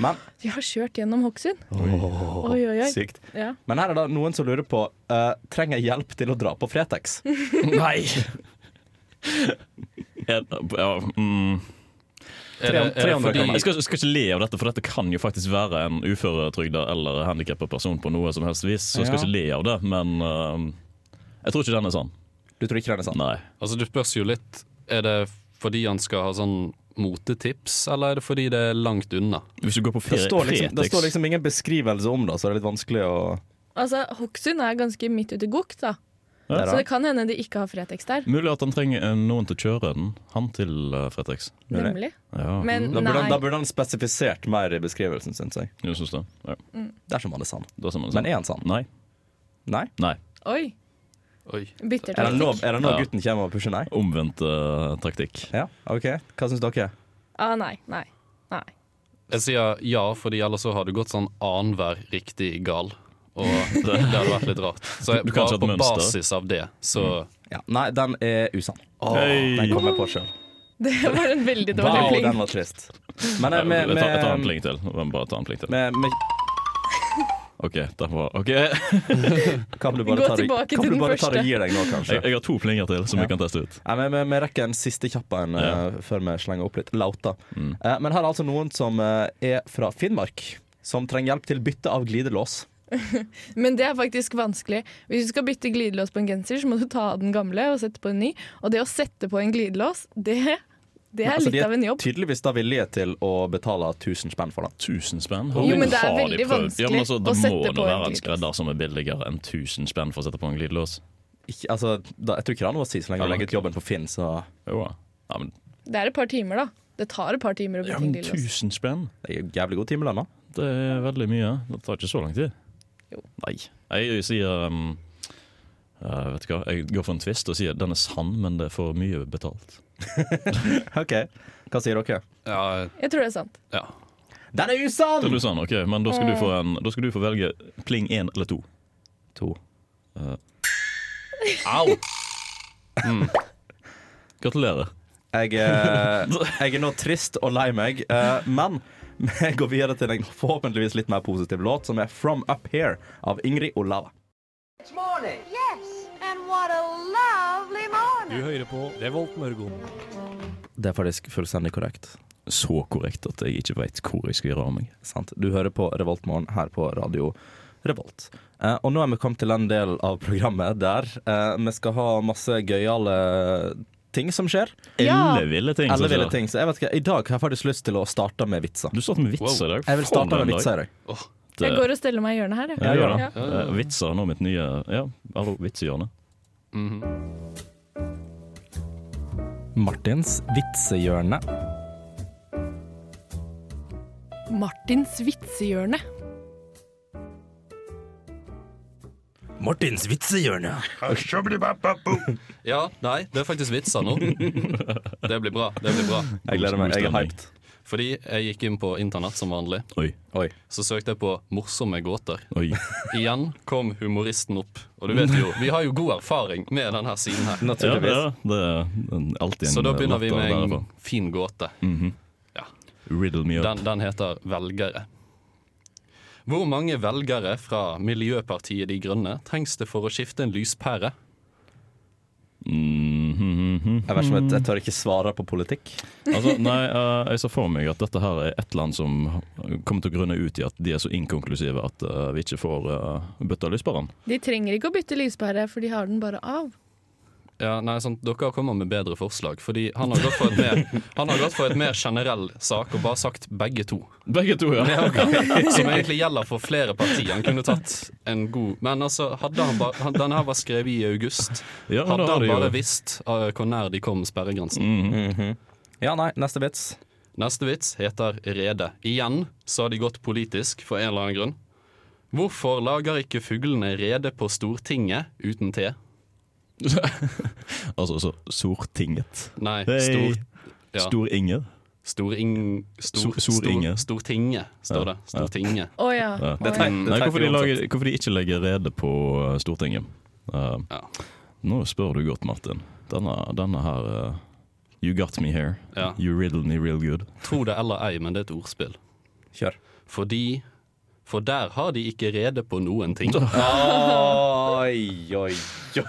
Men,
sted. De har kjørt gjennom Hokksund. Oi, oi, oi.
sykt.
Ja.
Men her er det noen som lurer på eh, Trenger jeg hjelp til å dra på Fretex.
Nei! Jeg, (laughs) ja, mm.
Er det, er det
300
fordi
kroner.
jeg skal, skal ikke le av dette, for dette kan jo faktisk være en uføretrygda eller handikappa person på noe som helst vis, så jeg skal
Ja.
ikke le av det, men eh, jeg tror ikke den er sånn.
Du tror ikke den er sann?
Nei.
Altså, du spørs jo litt Er det fordi han skal ha sånn motetips, eller er det fordi det er langt unna?
Hvis du går på
Det
ferie,
står, liksom, det
Fretex-
står liksom ingen beskrivelse om det, så det er litt vanskelig å
Altså, Hokksund er ganske midt ute i Gok, da.
Ja.
Så det kan hende de ikke har Fretex der.
Mulig at han trenger eh, noen til å kjøre den. Han til eh, Fretex.
Mulig.
Nemlig.
Ja,
Men
Da burde, han, da
nei.
burde han spesifisert mer i beskrivelsen, syns jeg.
jeg syns det. Ja,
Dersom han er sann.
da ser man det
Men er
sånn.
han sann?
Nei.
Nei?
Nei.
Oi,
Oi.
bitter
Er det nå,
taktikk.
er det nå
Ja.
gutten kommer og pusher nei?
Omvendt eh, taktikk.
Ja, OK. Hva syns dere?
Ah, nei, nei, nei. (laughs)
Jeg sier ja, fordi ellers så har det gått sånn annenhver riktig gal. (laughs) Og det, det hadde vært litt rart. Så jeg,
Du kan ikke ha
bare
et
på
mønster.
basis av det, så
Ja. Nei, den er usann.
Hei.
Den kom jeg på sjøl.
Det var en veldig dårlig
Wow,
pling.
den var trist. Men eh,
Jeg,
med,
jeg, tar, jeg tar en
med,
pling til. Jeg må Bare ta en pling til.
med, med
OK. Der
(laughs)
var, ok. Jeg,
Kan du
Gå
bare ta det-
tilbake
kan
til
du
den
bare ta det og
første.
gi deg nå, kanskje?
jeg har to plinger til som
Ja.
vi kan teste ut.
Nei, men men Vi rekker en siste kjapp en
Ja. Mm.
eh, før vi slenger opp litt lauta. Eh, men her er altså noen som eh, er fra Finnmark, som trenger hjelp til bytte av glidelås.
Men det er faktisk vanskelig. Hvis du skal bytte glidelås på en genser, så må du ta av den gamle og sette på en ny. Og det å sette på en glidelås, det, det er
Altså,
litt av en jobb.
De er tydeligvis da villige til å betale 1000 spenn for det.
Tusen spenn?
Jo, men det er
Har de prøvd?
veldig
ja,
vanskelig
men altså,
å
Det
sette
må nå
på en
være en
glidelås.
skredder som er billigere enn 1000 spenn for å sette på en glidelås.
Ikke, altså, da, jeg tror ikke det er noe å si så lenge du legger ut jobben på Finn, så
Jo, ja. Ja, men,
Det er et par timer, da. Det tar et par timer å
ja,
bytte en
men
glidelås.
1000 spenn?
det er jo jævlig god timelønn. da.
Det er veldig mye. Det tar ikke så lang tid.
Jo.
Nei. Jeg, jeg sier um, eh, Vet du hva, jeg går for en twist og sier den er sann, men det er for mye betalt.
OK, hva sier dere?
ja.
Jeg tror det er sant.
ja.
Den er
Det er
usann!
du sann, ok, Men da skal du få, en, da skal du få velge pling én eller to. Eh.
To.
Au! Mm. Gratulerer.
Jeg, eh, jeg er nå trist og lei meg, eh, men vi går videre til en forhåpentligvis litt mer positiv låt, som er 'From Up Here' av Ingrid Olava.
morning. Yes, and what a lovely morning.
Det er faktisk fullstendig korrekt.
Så korrekt at jeg ikke veit hvor jeg skal gjøre av meg.
Sant? Du hører på Revoltmorgen her på radio Revolt. Eh, og nå er vi kommet til den del av programmet der eh, vi skal ha masse gøyale ting som skjer.
Ja.
Elleville ting. som
Alle ville
skjer.
ting. Så jeg vet ikke, I dag har jeg faktisk lyst til å starte med vitser.
Du starter med vitser i dag.
Jeg vil
Faen,
starte med
en dag.
vitser i dag.
Det-
Jeg går og steller meg i hjørnet her. jeg.
Ja,
Jeg
gjør
gjør
det. Eh, vitser er nå mitt nye Ja, hallo, vitsehjørne.
Mhm.
Martins vitsehjørne.
Martins vitsehjørne.
Martins vitsehjørne.
Ja, nei, det er faktisk vitser (laughs) nå. Det blir bra. det blir bra.
Jeg gleder meg. Jeg er
Stemning.
hyped.
Fordi jeg gikk inn på internett som vanlig,
Oi,
Oi.
så søkte jeg på 'morsomme gåter'.
(laughs)
oi.
Igjen kom humoristen opp. Og du vet jo, vi har jo god erfaring med denne siden her.
Ja,
Naturligvis.
ja, det er en- alltid en
Så da begynner vi
latter
med en
derfra.
fin gåte.
Riddle me up.
Den, den heter 'Velgere'. Hvor mange velgere fra Miljøpartiet De Grønne trengs det for å skifte en lyspære?
Jeg, vet ikke, om jeg- jeg tør ikke svare på politikk.
Altså, nei, eh, jeg ser for meg at dette her er et land som kommer til å grunne ut i at de er så inkonklusive at eh, vi ikke får eh, bøtta lys på den.
De trenger ikke å bytte lyspære, for de har den bare av.
Ja, nei, sant, Dere kommer med bedre forslag. Fordi han har gått for et mer, han har gått for et mer generell sak og bare sagt begge to.
Begge to, ja.
(laughs) Som egentlig gjelder for flere partier. Han kunne tatt en god Men altså, hadde han bare han- Denne her var skrevet i august.
ja men da
Hadde
har
han
de jo- Mm.
bare visst uh, hvor nær de kom sperregrensen.
Ja, nei, neste vits.
Neste vits heter rede. Igjen så har de gått politisk for en eller annen grunn. Hvorfor lager ikke fuglene rede på Stortinget uten T?
Altså, så Sortinget.
Nei,
Hei.
stor, ja,
Stor-Inger.
Storing... Stor,
Sor- Soringe.
stor, stortinget, står
Ja,
det. Stortinget.
Å ja.
Ja.
Å, ja.
Det
Nei,
tenker
hvorfor de,
jeg uansett.
lager, hvorfor de ikke legger rede på eh, Stortinget. Eh,
Ja.
Nå spør du godt, Martin. Denne, denne her eh, You got me here.
Ja.
You riddle me real good.
Tro det eller ei, men det er et ordspill.
Kjør.
Fordi For der har de ikke rede på noen
(laughs)
ting.
Oi, oi,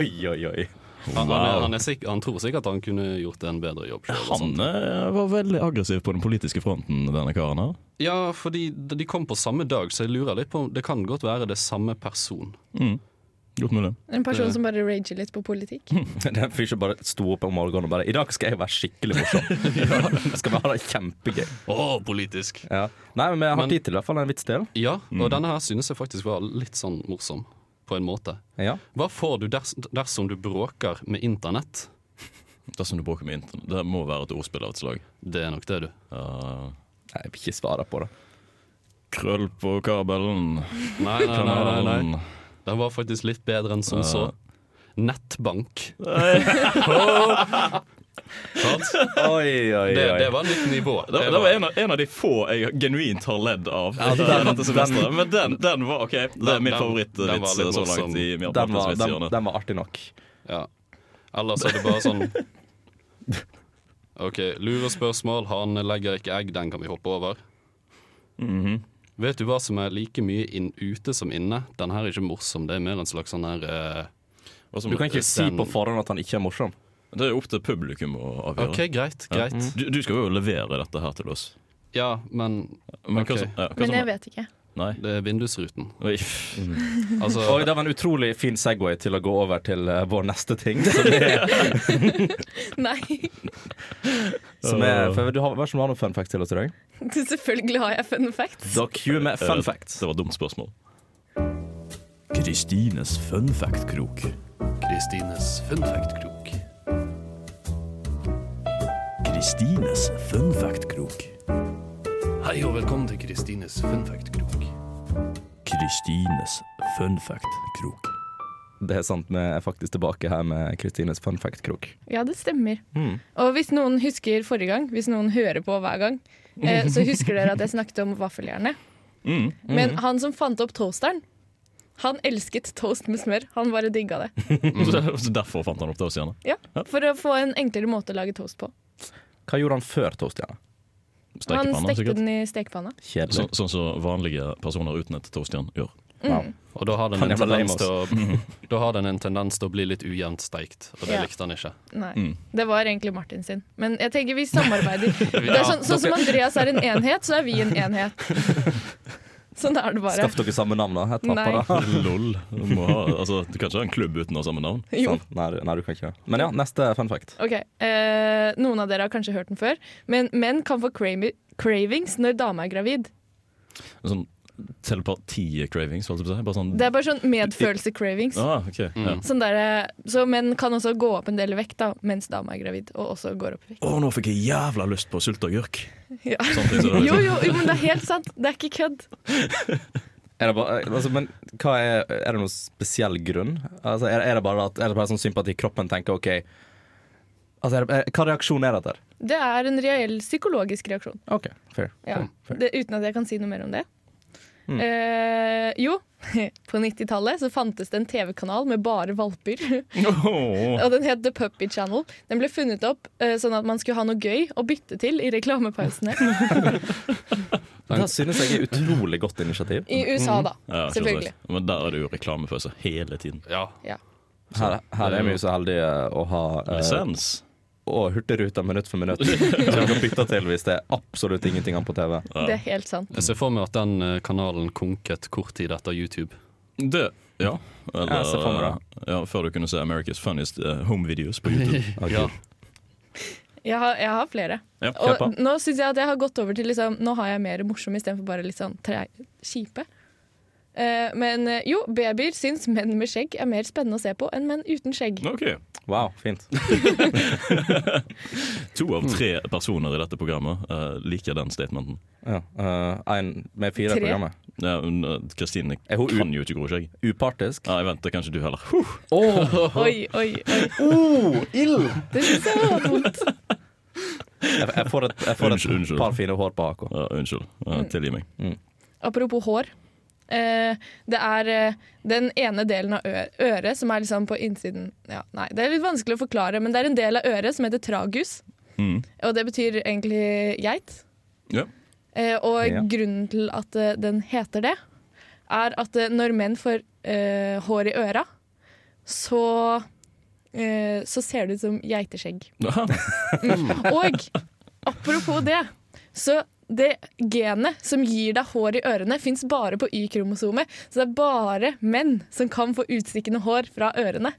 oi, oi, oi.
Han, han, er, han, er sikk- han tror sikkert han kunne gjort en bedre jobb. selv og sånt.
Han eh, var veldig aggressiv på den politiske fronten, denne karen her.
Ja, fordi de de kom på samme dag, så jeg lurer litt på om det kan godt være det samme person.
Godt mulig.
En person som bare rager litt på politikk.
(laughs) Det er en fyr som bare sto opp om morgenen og bare I dag skal jeg være skikkelig (laughs) morsom. Jeg skal være kjempegøy.
Å, politisk! Mm.
Ja. Nei, men jeg har
Men-
tid til i hvert fall en vits til.
Ja, og denne her synes jeg faktisk var litt sånn morsom, på en måte.
Ja.
Hva får du ders dersom du bråker med internett?
Det som du bråker med internett, det må være et ordspill av et slag.
Det er nok det, du.
Eh,
Nei, jeg vil ikke svare på det.
krøll på kabelen.
Nei, nei, nei. nei, nei.
Kanalen.
Den var faktisk litt bedre enn som så. Nettbank. (laughs) Sant?
Oi, oi,
Det,
oi.
det var nytt nivå.
Det, det var en av, en av de få jeg genuint har ledd av. i
den-
dette semesteret. Men den, den var OK. Det er
Den-
min
den- den var
favorittvits eh,
litt
så
morsom.
langt. i
den, var, den,
Martinsvitshjørnet.
den var artig nok.
Ja. Ellers er det bare sånn OK, lurespørsmål. Han legger ikke egg, den kan vi hoppe over.
Mhm.
Vet du hva som er like mye inn, ute som inne? Den her er ikke morsom, det er mer en slags sånn her eh,
Og som-
Du kan ikke si
den-
på forhånd at han ikke er morsom.
Det er jo opp til publikum å avgjøre.
OK, greit,
Ja.
greit.
Mm.
Du, du skal jo levere dette her til oss.
Ja, men
Men
Ok.
hva som, ja, hva
Men
som,
jeg vet ikke.
Nei.
det er vindusruten.
Oi.
Altså,
Oi, det var en utrolig fin Segway til å gå over til eh, vår neste ting. Som er,
Nei, (laughs)
som (laughs) er, for du har, hva er det som du har noen fun facts til oss i dag? Eh,
selvfølgelig har jeg fun facts.
Da cue med fun facts.
Eh, Det var et dumt spørsmål. Kristines fun fact-krok.
Kristines fun fact-krok.
Kristines fun fact-krok.
Hei og velkommen til Kristines fun fact-krok.
Kristines fun fact-krok.
Det er sant, vi er faktisk tilbake her med Kristines fun fact-krok.
Ja, det stemmer.
Hmm.
Og hvis noen husker forrige gang, hvis noen hører på hver gang, eh, så husker dere at jeg snakket om vaffeljernet.
Mm. Hmm.
Men han som fant opp toasteren, han elsket toast med smør. Han bare digga det.
(laughs) Så Derfor fant han opp det oss gjerne.
Ja, For å få en enklere måte å lage toast på.
Hva gjorde han før toastjerna?
Han
Stekepanna,
stekte
sikkert.
den i stekepanna.
Kjedelig.
Så, sånn som vanlige personer uten et toastjern gjør. (laughs)
Mm,
Wow.
Og da har, den
Han
en
er jævla lame,
tendens til å,
(laughs)
da har den en tendens til å bli litt ujevnt steikt, og det
Ja.
likte han ikke.
Nei,
Mm.
det var egentlig Martin sin. Men jeg tenker
(laughs)
vi samarbeider. Det er sånn, sånn som Andreas er en enhet, så er vi en enhet. Sånn er det bare.
Skaff dere samme navn, da. Et
Nei.
pappa, da.
Lol. Du, må ha, altså, du kan ikke ha en klubb uten å ha samme navn.
(laughs) Jo.
Sant? Nei, du- nei, Sånn, du kan ikke det. Men ja, neste fun fact.
Ok, eh, Noen av dere har kanskje hørt den før, men menn kan få cravi cravings når dama er gravid.
En Sånn telepati-cravings, holdt jeg på å si. Bare sånn
Det er bare sånn medfølelse-cravings.
ah, ok, ja.
Sånn der, eh, så menn kan også gå opp en del i vekt da, mens dama er gravid, og også går opp i vekt.
Å, nå fikk jeg jævla lyst på sylteagurk.
Ja.
Sånne ting som det er
(laughs) Jo,
liksom-
jo, jo, men det er helt sant. Det er ikke kødd.
Er det bare, altså, men hva er, er det noen spesiell grunn? Altså, er, er det bare at Er det bare sånn sympati kroppen tenker OK Altså, er det, er, Hva reaksjon er dette?
Det er en reell psykologisk reaksjon.
OK,
(laughs)
fair.
Ja.
fair.
Det, uten at jeg kan si noe mer om det.
Mm.
Eh, jo, (laughs) på 90-tallet så fantes det en TV-kanal med bare valper.
Åh.
(laughs) Og den het The Puppy Channel. Den ble funnet opp eh, sånn at man skulle ha noe gøy å bytte til i reklamepausene.
Det synes jeg er utrolig godt initiativ.
I
Mm.
USA, da.
Ja,
Selvfølgelig.
selvsagt. Men der er det jo reklamepause hele tiden.
Ja.
Ja.
Her, her er vi jo så heldige å ha eh,
Lisens.
og Hurtigruta minutt for minutt. (laughs) Som vi kan bytte til hvis det er absolutt ingenting an på TV.
Det er helt sant.
Jeg ser for meg at den eh, kanalen konket kort tid etter YouTube.
Det, ja. Eller, eh,
Ja, se for meg
ja, før du kunne se America's Funniest eh, Home Videos på YouTube.
(laughs) Ja.
Jeg har, jeg har flere.
Ja, kjør på.
Og nå syns jeg at jeg har gått over til liksom, Nå har jeg mer morsom istedenfor bare litt sånn tre, kjipe. Eh, men eh, jo, babyer syns menn med skjegg er mer spennende å se på enn menn uten skjegg.
Ok.
Wow, fint.
To av tre personer i dette programmet eh, liker den statementen.
Ja, eh, en med fire i
Tre.
programmet.
Ja, men, eh, Kristine
Er hun u-
kan jo ikke gro skjegg.
Upartisk.
Nei, vent, det kan ikke du heller. Huh.
Oi, oi, oi. Det syns jeg var vondt.
Jeg, jeg får et, jeg får et
Unnskyld, unnskyld.
par fine hår på haka.
Ja, eh, unnskyld. Ja,
Mm.
tilgi meg.
Apropos hår. Eh, det er eh, den ene delen av ø- øret som er liksom på innsiden ja, Nei, det er litt vanskelig å forklare, men det er en del av øret som heter tragus.
Mm.
Og det betyr egentlig geit.
Ja.
Eh, og
Ja.
grunnen til at eh, den heter det, er at eh, når menn får eh, hår i øra, så eh, så ser det ut som geiteskjegg.
Aha.
Og apropos det, så det genet som gir deg hår i ørene, fins bare på Y-kromosomet. Så det er bare menn som kan få utstikkende hår fra ørene.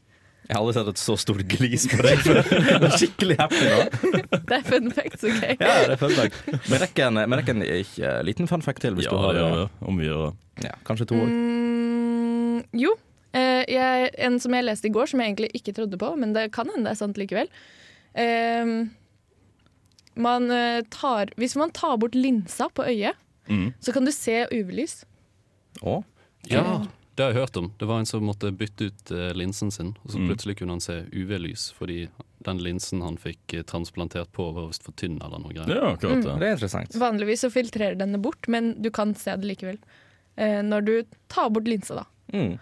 Jeg har aldri sett et så stort glis på deg (laughs) før. Jeg er Skikkelig happy nå.
Det er fun facts, OK?
(laughs) Ja, det føler jeg. Men jeg rekker en, men jeg rekker en ikke, eh, liten fun fact til. Hvis
Ja,
du har
ja, ja, om vi gjør det.
Ja, Kanskje to òg.
Mm, jo. Eh, jeg, en som jeg leste i går, som jeg egentlig ikke trodde på, men det kan hende det er sant likevel. Ehm, man eh, tar Hvis man tar bort linsa på øyet,
Mm.
så kan du se UV-lys.
Å?
(laughs) ja, det har jeg hørt om. Det var en som måtte bytte ut eh, linsen sin, og så plutselig kunne han se UV-lys fordi den linsen han fikk eh, transplantert på, var visst for tynn eller noe greier.
Ja,
Mm.
klart det.
Det er interessant.
Vanligvis så filtrerer den det bort, men du kan se det likevel. Eh, når du tar bort linsa, da.
Mm.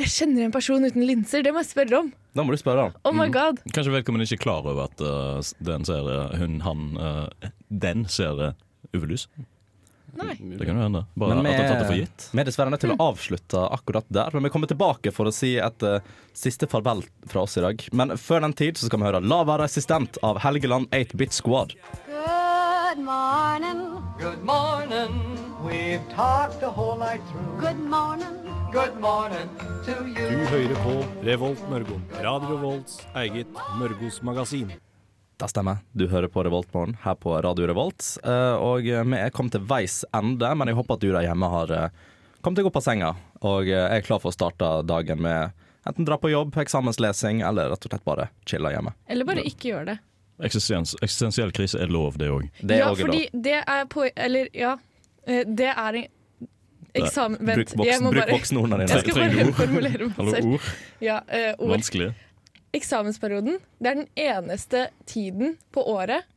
Jeg kjenner en person uten linser, det må jeg spørre om!
Da må du spørre om.
Oh my god!
Kanskje vedkommende ikke er klar over at eh, s- den ser eh, hun, han, eh, den ser eh, UV-lys.
Nei.
Det kan jo hende. Bare
Men
at de har tatt det for
vi,
gitt.
vi er dessverre nødt til å avslutte akkurat der. Men vi kommer tilbake for å si et eh, siste farvel fra oss i dag. Men før den tid så skal vi høre 'Lava Resistent' av Helgeland 8-Bit Squad.
Good morning.
Good morning. We've talked the whole night through.
Good morning.
Good morning to you.
Det stemmer. Du hører på Revoltmorgen her på Radio Revolt. Eh, og eh, vi er kommet til veis ende, men jeg håper at du der hjemme har eh, kommet deg opp av senga og eh, er klar for å starte dagen med enten dra på jobb, eksamenslesing eller rett og slett bare chille hjemme.
Eller bare ikke gjør det.
Eksistens, eksistensiell krise er lov, det òg.
Det er
ja,
også
fordi det er på Eller, ja. eh, Det er en eksamen
lov. Bruk,
Vent, jeg
voksen,
må
bruk
bare
voksenordene
Jeg
dine.
skal
Trenger
bare
ord.
formulere meg
Hallo,
selv.
ord.
Ja, eh, ord.
Vanskelige.
Eksamensperioden det er den eneste tiden på året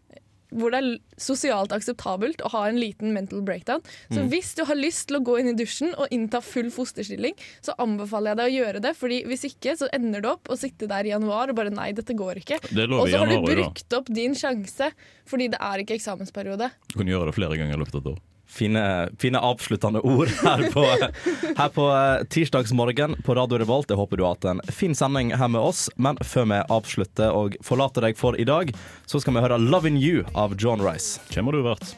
hvor det er l- sosialt akseptabelt å ha en liten mental breakdown. Så
Mm.
hvis du har lyst til å gå inn i dusjen og innta full fosterstilling, så anbefaler jeg deg å gjøre det. Fordi hvis ikke, så ender du opp å sitte der i januar og bare nei, dette går ikke.
Det er lov
Og
i
så har du
januar òg, da.
brukt opp din sjanse, fordi det er ikke eksamensperiode.
Du kan gjøre det flere ganger i løpet av et år.
Fine, fine avsluttende ord her
(laughs)
på, her på eh, tirsdagsmorgen på Radio Revolt. Jeg håper du har hatt en fin sending her med oss. Men før vi avslutter og forlater deg for i dag, så skal vi høre 'Lovin' You' av John Rice.
Hvem har du vært?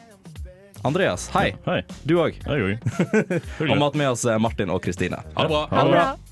Andreas, hei.
Hei.
Du òg.
Hei, Jørgen.
(laughs)
Og vi har hatt med oss eh, Martin og Kristine.
Ha det bra.
Ha det bra.